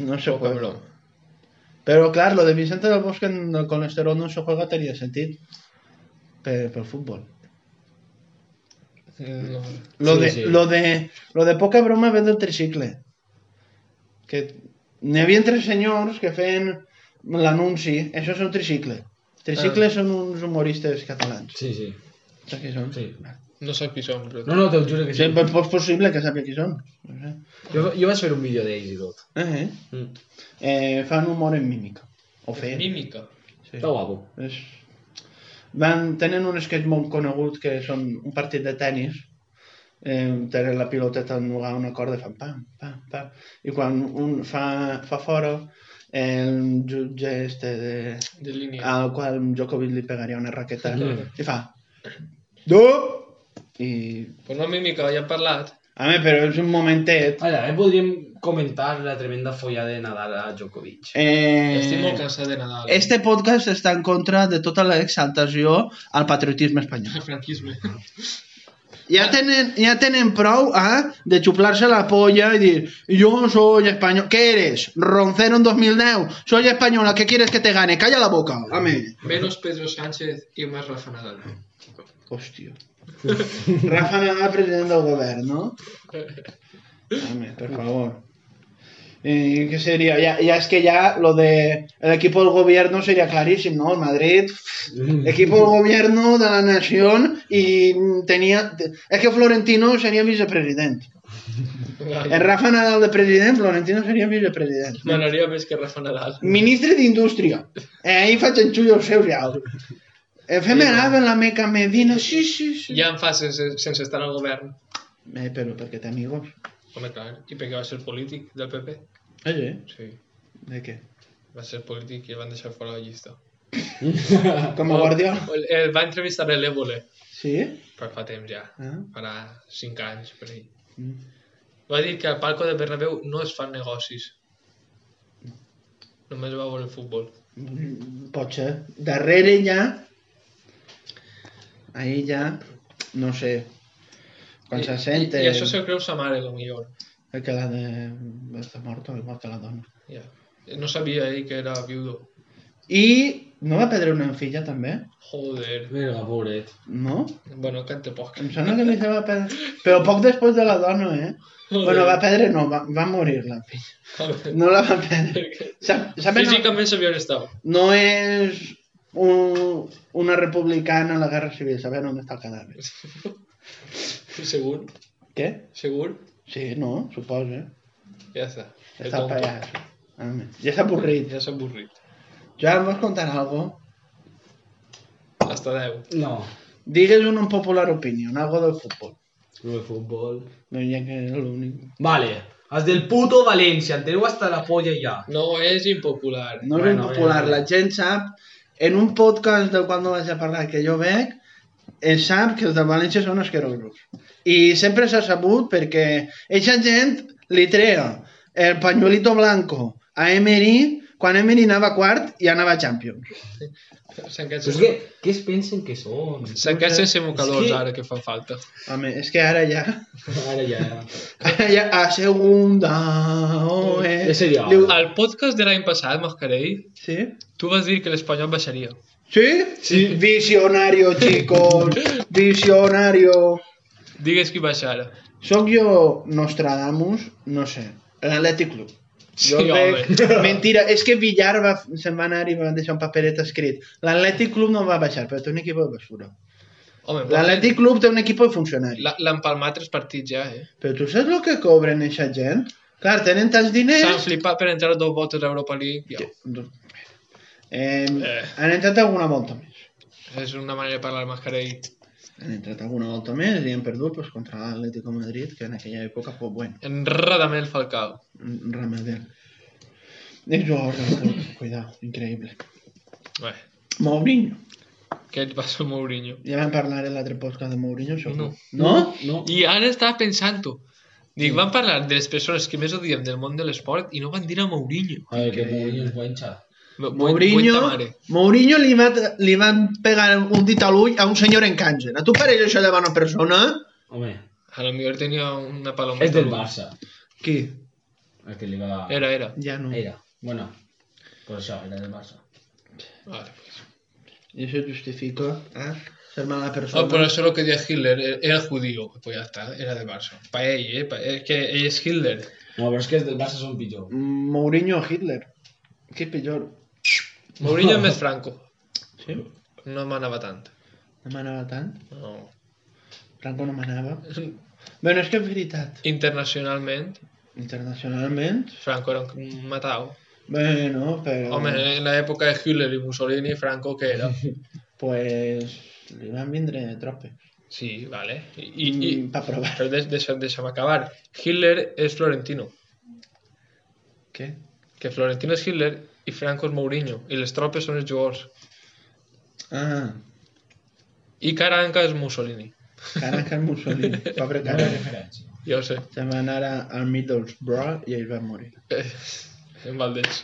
No se poca juega. broma. Però, clar, lo de Vicente del Bosque en el colesterol no se juega tenia sentit per, pel futbol. No. Lo, Sí, de, sí. Lo, de, lo de poca broma ve del tricicle. Que n'hi havia tres senyors que feien l'anunci. Això és un tricicle. Tricicles són uns humoristes catalans. Sí, sí. Saps qui són? Sí. No sóc qui som, però... No, no, te'l juro que Sí, sí. però és possible que sàpiga qui són. No sé. Jo, jo vaig fer un vídeo d'ells i tot. Eh, eh. Mm. Eh, fan humor en mímica. O feien. Mímica. Sí. Està guapo. És... Van, tenen un sketch molt conegut que són un partit de tennis eh, tenen la piloteta ennugar una corda fan pam, pam, pam i quan un fa, fa fora el jutge este de, De línia. al qual Djokovic li pegaria una raqueta Mm. i fa dup i Pues no mímica, ja hem parlat. a mi, però és un momentet Ah, també podríem comentar la tremenda follada de Nadal a Djokovic. eh... Estic molt cansat de Nadal. Este podcast està en contra de tota l'exaltació al patriotisme espanyol. El franquisme. Ja tenen, ja tenen prou eh, de xuplar-se la polla i dir jo soy español. ¿Qué eres? Roncero en 2010. Soy española. ¿Qué quieres que te gane? Calla la boca. Amén. Menos Pedro Sánchez i més Rafa Nadal. Hòstia. Rafa Nadal, president del govern, no? Home, per favor. Eh, ¿Qué sería? Ya, ya es que ya lo de el equipo del gobierno sería clarísimo, ¿no? Madrid, Mm. equipo del gobierno de la nación y tenía... Es que Florentino sería vicepresidente. En Rafa Nadal de president, Florentino seria vicepresident. M'agradaria més que Rafa Nadal. Ministre d'Indústria. Eh, ahir faig enxullo els seus i altres. Eh, fem Sí, anar amb la Meca Medina, sí, sí, sí. Ja en fa sense, sense estar al govern. Eh, però perquè té amigos. Home, clar, i perquè va ser polític del PP. Eh, sí? Sí, De què? va ser polític i el van deixar fora de la llista. Oh, Com a guardià? El, el va entrevistar a l'Évole, Sí? però fa temps ja, Ah. farà 5 anys per ahir. Mm. Va dir que al palco de Bernabéu no es fan negocis. Només va veure el futbol. Mm, Pot ser. Darrere ja... Ahir ja... No sé. Quan I- se sente... I, I això se'l creu sa mare, lo millor. Que la de... Està morta, igual que la dona. Ja. No sabia ell que era viudo. I no va perdre una filla, també? Joder. Vinga, pobret. No? Bueno, canta poc. Em sembla que li se va perdre... Però poc després de la dona, eh? Bueno, va perdre, no, va, va morir la filla. No la va perdre. Sap, sap, no, Físicament sabia on estava. no és un, una republicana a la Guerra Civil, saber on està el cadàver. Segur, Què? segur. Sí, no, suposa. Ja està. Està el pallasso. Ah, Home, ja s'ha avorrit. Ja s'ha avorrit. Joan, vols contar alguna cosa? Hasta 10. No. Digues una popular opinion, algo del futbol. No de fútbol. No hi ha que és l'únic. Vale. Els del puto Valencia. Anterior hasta la polla ya. No és impopular. No és un Bueno, popular, bé, bé. la gent sap, en un podcast del qual no vaig a parlar que jo veig, eh, sap que els del València són asquerosos. I sempre s'ha sabut perquè aquesta gent li trea el pañuelito blanco a Emery quan Emery anava a quart i anava a Champions. S'han Pues quedat Es sense- que, ¿qué es pensen que son? s'han quedat sense mocadors És que- ara que fan falta. Home, és que ara ja... Ahora ya. Ara ja a segunda... Oh, eh. Ese dia. Diu, "Ah, Al podcast de l'any passat, Mascarell, sí? tu vas dir que l'Espanyol baixaria. Sí? Sí. Visionario, chicos. Visionario. Digues qui baixarà. Soc jo Nostradamus, no sé, l'Atlètic Club. Jo Sí, crec... home. Mentira, és que Villar va... se'n va anar i va deixar un paperet escrit. L'Atlètic Club no va baixar, però té un equip de basura. Home, L'Atlètic Club té un equip de funcionaris. l'ha- L'han palmat tres partits ja, eh? Però tu saps el que cobren eixa gent? Clar, tenen tants S'han diners... flipat per entrar dos voltes a Europa League. Ja. Eh, Eh. han entrat alguna volta més. És una manera de parlar Mascarell. Han entrat alguna volta més i han perdut pues, contra l'Atlético de Madrid, que en aquella època fou bueno. Enredament el Falcao. Ramader. És jugador del Porto, cuidado, increïble. Bé, Mourinho. què et passa, Mourinho? Ja vam parlar en l'altre podcast de Mourinho, segur. No. No? No. I ara estava pensant-ho. Dic, van parlar de les persones que més odiem del món de l'esport i no van dir a Mourinho. A ver, Eh, que Mourinho es buen chat. Bu- bu- Mourinho, buena mare. Mourinho li, va, li van pegar un dit a l'ull a un senyor en càncer. A tu pareix això de bona persona? Hombre. A lo millor tenia una paloma. Es del Barça. Qui? El que le va... Era, era. Ja no. Era. Bueno. Por eso, era del Barça. Vale. I això justifica eh? ser mala persona. Oh, però això és el que deia Hitler, era- era judío. Pues ja està, era de Barça. Pa ell, eh? Pa... És que ell és Hitler. No, pero es que es del Barça son pillo. Mourinho o Hitler. Que pitjor. Mourinho és més franco. Sí? No m'anava tant. No m'anava tant. No. Franco no m'anava. Bueno, és que és veritat. Internacionalment, Internacionalment... Franco era un matau. Bueno, però... Home, en l'època de Hitler i Mussolini, Franco què era? Pues... Li van vindre tropes. Sí, vale. I, i, I, i... Pa provar. Però de, deixa'm, deixa'm acabar. Hitler és Florentino. Què? Que Florentino és Hitler i Franco és Mourinho. I les tropes són els jugadors. Ah, I Caranca és Mussolini. Caracas Mussolini. Pobre Era Caracas. referencia. Jo ho sé. Se'n va anar a- al Middlesbrough i ell va morir. Eh, en Valdés.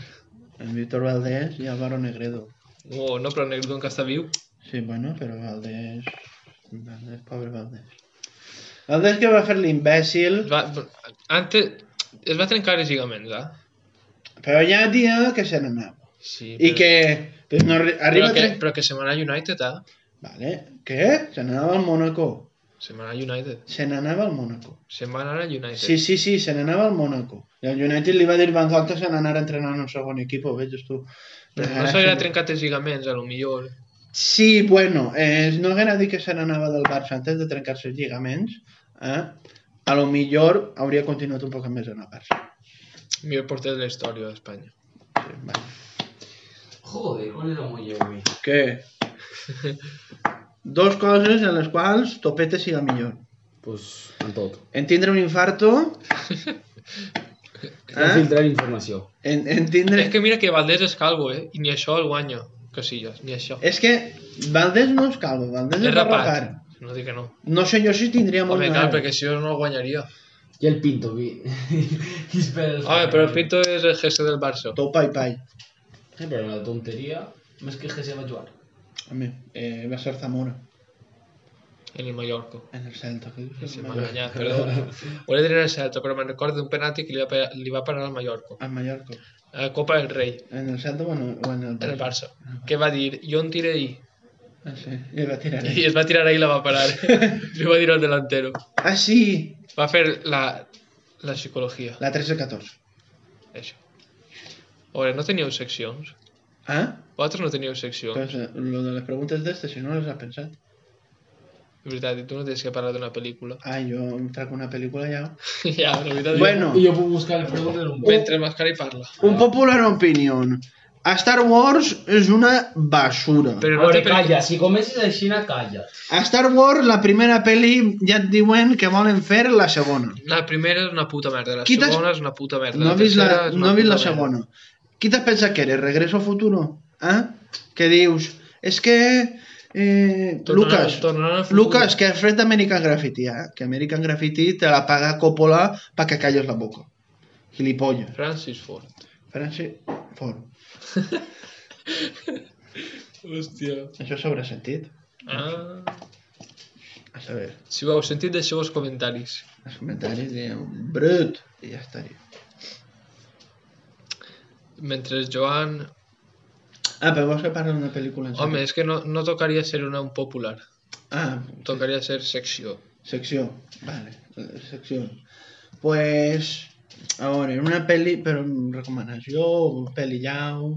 En Víctor Valdés i Álvaro Negredo. No, no, però Negredo encara està viu. Sí, bueno, però Valdés... Valdés, pobre Valdés. Valdés que va fer l'imbècil, Es va, antes, es va trencar els lligaments, eh? però ja dia que se n'anava. Sí, I que... Pues no, arri- arriba... però, que, tre- però que se va anar a United, eh? Vale. Què? Se n'anava al Mónaco. Se va anar a United. Se n'anava al Mónaco. Se'n va anar a United. Sí, sí, sí, se n'anava al Mónaco. I el United li va dir Van Gaal que se n'anara a entrenar en un segon equip, ho veig tu. Però no Ara s'havia se- trencat els lligaments, a lo millor. Sí, bueno, eh, no haguera dit que se n'anava del Barça antes de trencar-se els lligaments, eh? a lo millor hauria continuat un poc més en el Barça. Millor porter de la història d'Espanya. Sí, vale. Joder, con el muy güey. Què? Dos coses en les quals Topete siga millor. Pues, en Eh? tot. En tindre un infarto... Eh? Eh? Filtrar informació. En, en És tindre... que mira que Valdés és calvo, eh? I ni això el guanya. Casillas, ni això. És que Valdés no és calvo, Valdés És és rapar. rapat. No dic que no. No sé jo si tindria molt Home, clar, anar. perquè si no, no el guanyaria. I el Pinto, vi. Home, però Ah, el Pinto és el jefe del Barça. Tot pai pai. Sí, però la tonteria... Més que Jesse va jugar. Home, eh, va ser Zamora En el Mallorca. en el Celta. Que dius que Se el m'ha Mallorca. enganyat, perdó. Volia dir en el Celta, però me'n recordo d'un penalti que li va, pe- li va parar al Mallorca. Al Mallorca. A la Copa del Rei, En el Celta o en, el- o en el en el Barça. Barça. Que va dir, jo en tiré ahir. Ah, sí, i va tirar. I es va tirar ahí i la va parar. li va dir al delantero. Ah, sí! Va fer la, la psicologia, La 13-14. això. A veure, no teníeu seccions? Ah? Vosaltres no teníeu seccions? Pues, eh, lo de les preguntes d'estes, si no les has pensat. De veritat, i tu no tens que parlar d'una pel·lícula. Ah, jo em trac una pel·lícula ja. ja, la veritat... Bueno, I jo puc buscar el pregunta en un bo. Mentre Mascari parla. un popular opinion. A Star Wars és una basura. Però A no té veure, pel·lícula. calla, si comences així, calla. A Star Wars, la primera pel·li, ja et diuen que volen fer la segona. La primera és una puta merda, la Qui t'has- segona és una puta merda. No he vist tercera la, és una no he vist la puta merda. segona. Qui t'has pensat que eres? ¿Regreso a futuro? Eh? Que dius? És que... Eh, Tornant- Lucas, tornant al futur. Lucas, que has fet American Graffiti, eh? Que American Graffiti te la paga Coppola pa que calles la boca. Gilipollas. Francis Ford. Francis Ford. Hòstia. Això s'haurà sentit. Ah. A saber, Si ho heu sentit, deixeu els comentaris. els comentaris diuen brut i ja estaria. Mentre Joan... Ah, però vols que parli d'una pel·lícula en sèrie? Home, és que no, no tocaria ser una un popular. Ah, Tocaria ser secció. Secció, vale, eh, secció. Pues, a veure, una pel·li, però em recomanació, o pel·li llau,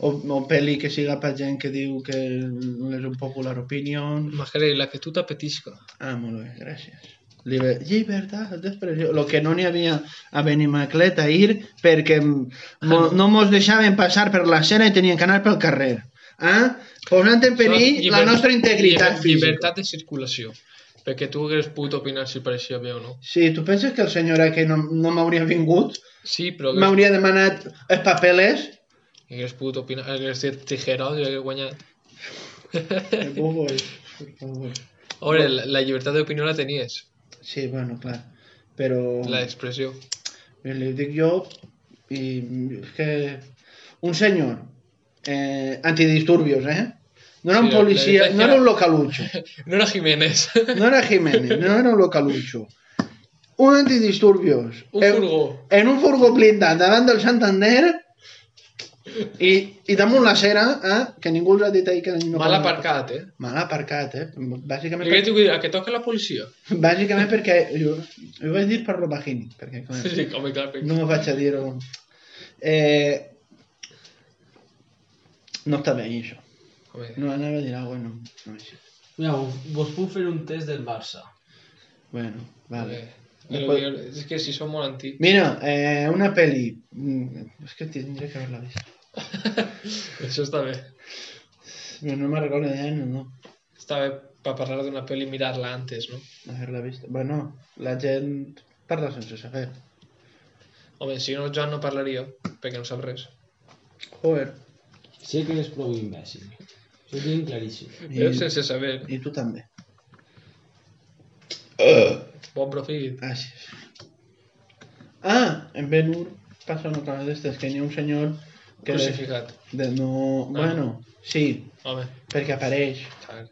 o, o pel·li que siga per gent que diu que és un popular opinion. Mascarell, la que tu t'apetisca. Ah, molt bé, gràcies. Liber Llibertat d'expressió. Lo que no n'hi havia a Benimaclet ahir perquè m- Ah. mo- no mos deixaven passar per la l'escena i tenien que anar pel carrer. Eh? Posant en perill la Lliber- nostra integritat lliber- física. Llibertat de circulació. Perquè tu hagués pogut opinar si pareixia bé o no. Sí, tu penses que el senyor que no, no m'hauria vingut Sí, però hagués, M'hauria demanat els papeles. hagués pogut opinar... Hagués dit tijeros i hagués guanyat. A veure, la, la llibertat d'opinió la tenies. Sí, bueno, eh, clar. Però La expressió. li dic jo i és que un senyor eh, antidisturbios, eh? No era un Sí, la- la policia, veritat no que era un era- localucho. No era Jiménez. No era Jiménez, no era un localucho. Un antidisturbios. Un en, furgó. En un furgó blindat davant del Santander i, i damunt la cera, eh? que ningú els ha dit ahir que... No Mal aparcat, eh? Mal aparcat, eh? Bàsicament, I què t'ho dirà? Que toca la policia? per... Bàsicament perquè... Jo, jo vaig dir per lo bajini, perquè clar, Sí, sí, home, clar, perquè... no me vaig a dir... -ho. Eh... No està bé, això. Home, diciamo. No anava a dir alguna bueno, no és així. Mira, vos- vos puc fer un test del Barça. Bueno, vale. vale. Però Després- jo- És que si som molt antics. Mira, eh, una peli... Mm, És que tindré que haver-la vist. Això està bé. No, no me'n recordo de no, no. Està bé per parlar d'una pel·li mirar-la antes, no? Haver-la vist. Bueno, la gent parla sense saber. Home, si no, Joan no parlaria, perquè no sap res. Joder. Sé que eres prou imbècil. Això ho tinc claríssim. I, Jo sense saber. i tu també. Bon profit. Gràcies. Ah, en Ben Hur passa una cosa d'estes, que hi ha un senyor que de, Crucificat. de no... Pues Ah. Bueno, sí, Home, perquè apareix, clar.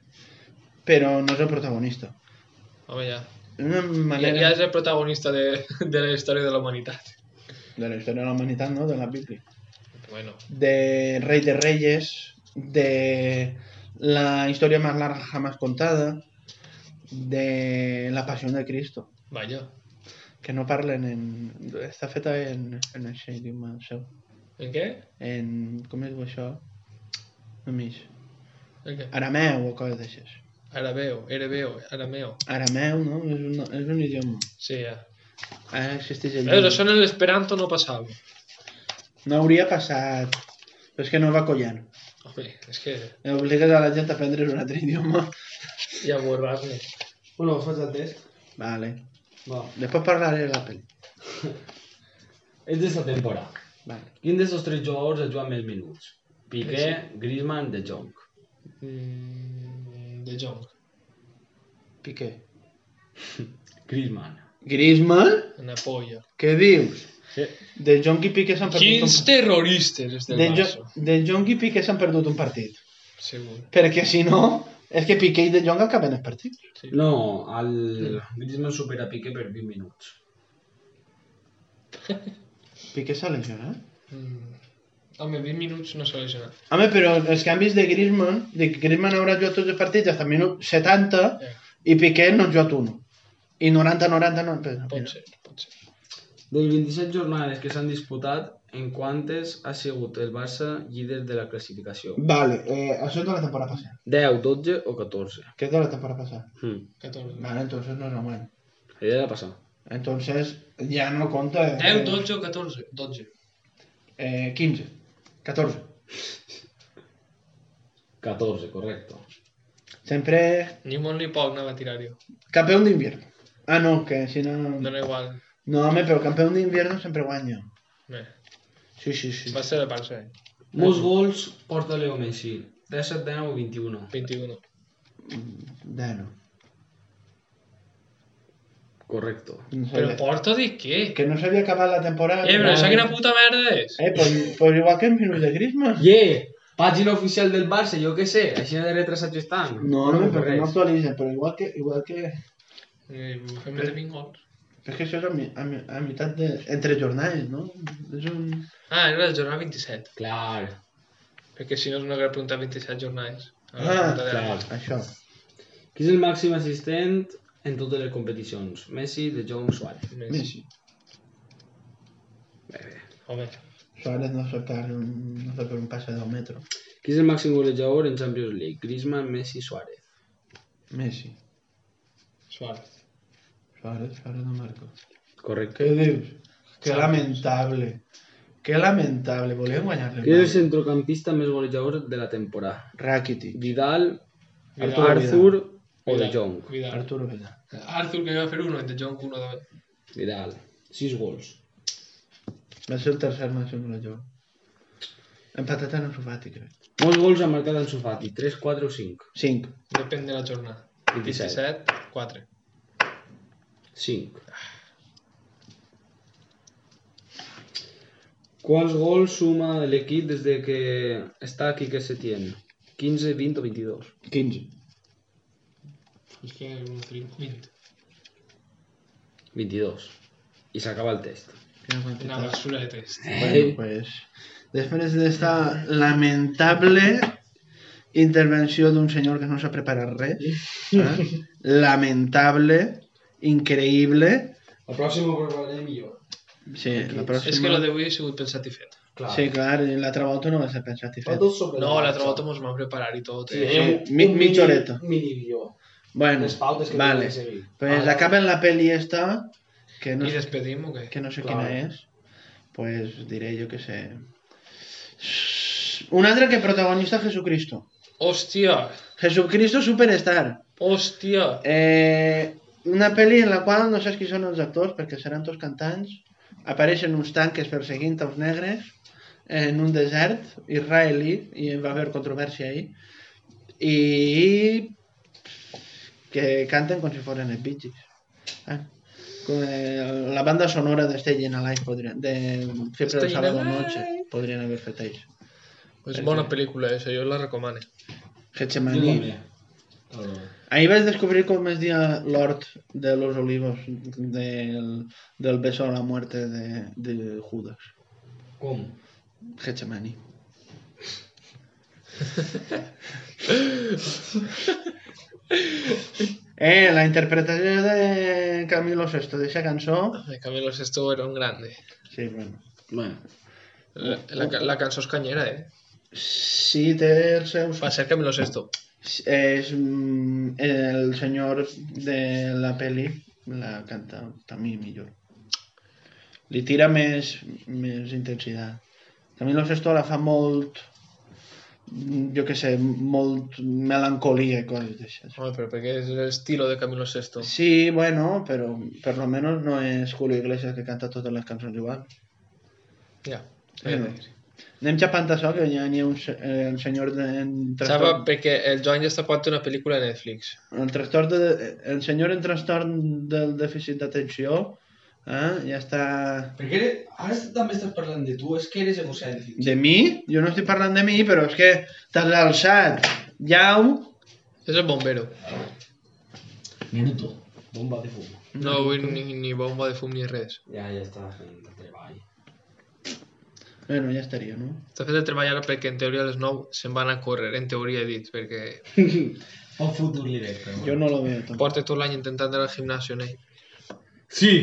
però no és el protagonista. Home, ja. Una Ja, ja manera és el protagonista de, de la història de la humanitat. de la història de la humanitat, no? De la Bíblia. Bueno, De Rei de Reyes, de la història més larga jamás contada, de la passió de Cristo, vaja. que no parlen en... Està feta en, en aquest idioma seu. En què? en... com es diu això? Només. En què? Arameu o coses d'aixes. Arabeo, herebeo, arameo. Arameu, no? És un, és un idioma. Sí, ja. Ara existeix el Veus, això en l'esperanto no passava. No hauria passat. Però és que no va collant. Home, és que Obligues a la gent a aprendre un altre idioma. ja ho guardar-ne. Bueno, faig el test. Vale. Va. Després parlaré de la pel·li. És d'esta temporada. Vale. Quin d'aquests tres jugadors ha jugat més minuts? Piqué, Griezmann, De Jong. Mm, de Jong. Piqué. Griezmann. Griezmann? Una polla. Què dius? Sí. De Jong i Piqué s'han perdut Quins terroristes és un... del De, Barça. jo... de Jong i Piqué s'han perdut un partit. Segur. Perquè si no, és que Piqué i De Jong acaben el partit. No, el Griezmann supera Piqué per 20 minuts. Piqué s'ha lesionat. Mm. Home, 20 minuts no s'ha lesionat. Home, però els canvis de Griezmann, de que Griezmann haurà jugat tots els partits fins al minut 70 Eh. i Piqué no ha jugat un. I 90, 90, no... Però, Pot ser, pot ser. De 27 jornades que s'han disputat, en quantes ha sigut el Barça líder de la classificació? Vale, eh, això és de la temporada passada. 10, 12 o 14? Què és de la temporada passada? Hmm. 14. Vale, entonces no és anual. La idea de passar. Entonces ja no compta... Eh, 10, 12 o 14? 12. Eh, 15, 14. 14, correcte. Sempre Ni molt ni poc anava a tirar jo. campeón d'invierno. Ah, no, que si no... Dona igual. No, home, però campeón d'invierno sempre guanya. Bé, Sí, sí, sí. va ser el Barça, eh? Molts gols porta Leo Messi. 17, 19 o 21. 21. Bueno, Correcto. no Però sabia. porta de què? Que no s'havia acabat la temporada. Eh, però això quina puta merda és? Eh, pues, pues igual que el minut de Griezmann. Yeah! Pàgina oficial del Barça, jo què sé, així de retrasats estan. No, no, per perquè no actualitzen, però igual que... Igual que... Eh, Fem de 20 gols. És que això és a, mi, a, mi, a meitat de... Entre jornades, no? És un... Ah, era la jornada 27. Clar, Perquè si no és una gran pregunta 27 jornades. A la Ah, pregunta de la- clar. Això. Qui és el màxim assistent en totes les competicions? Messi, De Jong, Suárez. Més. Messi. Home, Suárez no surt per un, no surt per un passe del metro. Qui és el màxim golejador en Champions League? Griezmann, Messi, Suárez. Messi. Suárez. Suárez, Suárez no marca. Correcte. Què dius? Que lamentable. Que lamentable. Volien guanyar-li. Qui és el centrocampista més golejador de la temporada? Rakitic. Vidal, Arturo Arthur o De Vidal, Jong? Vidal. Arturo Vidal. Arthur que va fer uno, de Jong uno també. Vidal. 6 gols. Va ser el tercer màxim de joc. Empatat en el Sofati, crec. Molts gols ha marcat en Sofati, 3, 4 o 5. 5. Depèn de la jornada. 27. 27, 4. 5. Quants gols suma l'equip des de que està aquí que se tiene? 15, 20 o 22? 15. És que era un trim. 20. 22. I s'acaba el test. Quina Una quantitat. basura de test. Eh. Bueno, pues, després d'esta lamentable intervenció d'un senyor que no s'ha preparat res, eh? lamentable, increïble, La pròxima ho prepararé millor. sí, la És que lo pròxima... d'avui ha sigut pensat i fet. Sí, clar, i l'altra volta no va ser pensat i fet. sobre No, l'altra volta mos vam preparar i tot. Sí, eh? eh, sí, mi- un mitja mini- horeta. Mini guió. Bueno, Les pautes que vale. tenim que seguir. Pues Ah, acaba en la pel·li esta, que no I sé, despedim o què? que no sé Clar. quina és, pues diré jo que sé... Un altre que protagonista Jesucristo. Hòstia! Jesucristo Superstar. Hòstia! Eh, una pel·li en la qual no saps qui són els actors perquè seran tots cantants. Apareixen uns tanques perseguint els negres en un desert israelí i va haver controvèrsia ahir. I que canten com si foren els Bee Gees. Ah. Com, eh, la banda sonora de Staying Alive podrien, de Fiebre del Staying Sábado Alive. Noche podrien haver fet això. És bona pel·lícula, això jo la recomano. Jo Getsemani. també. Ahir vaig descobrir com es dia l'hort de los olivos del, del beso a la muerte de, de Judas. Com? Getsemani. eh, la interpretació de Camilo Sesto d'aquesta cançó... Camilo Sesto era un grande. Sí, bueno. Bueno. La, la, ca- la cançó és canyera, eh? Sí, té els seus... Va ser Camilo Sesto. és mm, el senyor de la peli la canta també millor li tira més, més intensitat Camilo Sestola fa molt mm, jo que sé, molt melancolia i coses d'aixes. Home, però perquè és l'estilo de Camilo Sesto. Sí, bueno, però per lo menos no és Julio Iglesias que canta totes les cançons igual. Ja. Sí, no. Anem xapant això, que ja n'hi ha un, se- eh, un senyor de... en Saba trastorn- perquè el Joan ja està pot una pel·lícula a Netflix. El, trastorn de, el senyor en trastorn del dèficit d'atenció eh, ja està... Perquè eres, ara també estàs parlant de tu, és que eres egocèntric. De mi? Jo no estic parlant de mi, però és que t'has alçat. Jau, És el bombero. Minuto. Bomba de fum. No vull ni, ni bomba de fum ni res. Ja, ja està fent treball. bueno, ja estaria, no? Està fet de treballar ara perquè en teoria a les 9 se'n van a córrer, en teoria he dit, perquè Poc futur li veig, però Jo no lo veo tampoc. porta tot l'any intentant anar al gimnasio en ell. Sí!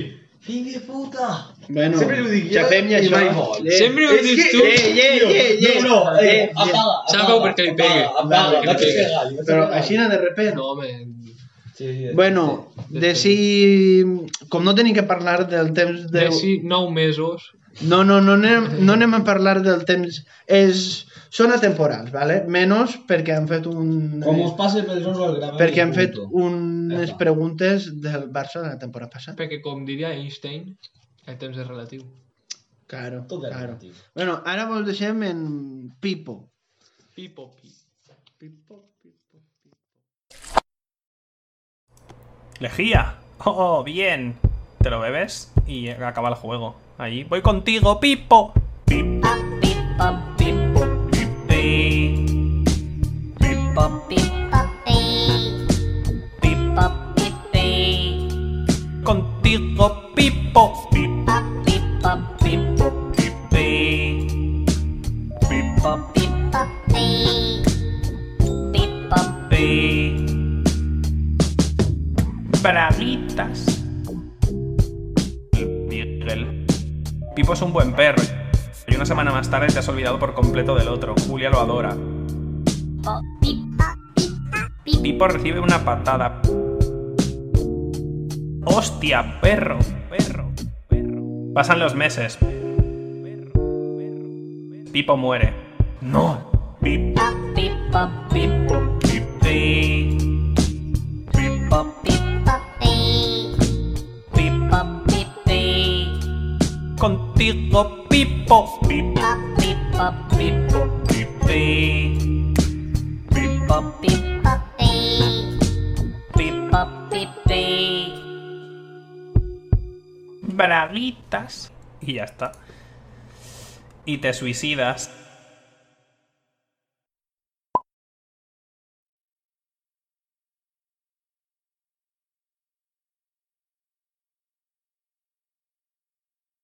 Fill de puta! Bueno, Sempre ho dic jo xapem i i això. mai vol. Eh, Sempre ho és dius que- tu. Eh, eh, eh, eh, No, no, eh, eh, eh. apaga, Sabeu per què li pegue. Apaga, Perquè li vaig pegue. cagar, li vaig Però cagar. així de repente. No, home, Sí, sí, sí. Bueno, de si... Com no tenim que parlar del temps de... d'ací 9 mesos No, no, no anem, no anem a parlar del temps... És... Són atemporals, ¿vale? Menos perquè han fet un... eh, Com us passe pel rol al gravamen. perquè han fet punto. Ja unes està. preguntes del Barça de la temporada passada. Perquè, com diria Einstein, el temps és relatiu. Claro, Tot era claro. relatiu. Bueno, ara vos deixem en Pipo. Pipopi. Pipo, Pipo. Lejía. Oh, bien. Te lo bebes y acaba el juego. Ahí. Voy contigo, Pipo. Pipo, Pipa, pipo, pi, pipa, pipa, pi. pi. Pipa, pipi. Contigo, Pipo. Pipo, Pipa, pipa, pipo, pi, pipa, pipa, pi. Pipa, pi. Braguitas. Miguel. Pipo es un buen perro. Y una semana más tarde te has olvidado por completo del otro. Julia lo adora. po, pipa, pipa, pipi. Pipo recibe una patada. ¡Hostia, perro! Perro, perro. Pasan los meses. Pipo muere. No. Pipo. Pipa, pipo, Pi- pipa, pipa, pi. Pipa, pipi. Contigo, Pipo. Pipo. Pipa, pipa, pipo, Pi- pipa, pipa, pi. Pipo. Pipa, pipi. Braguitas. Y ya está. Y te suicidas.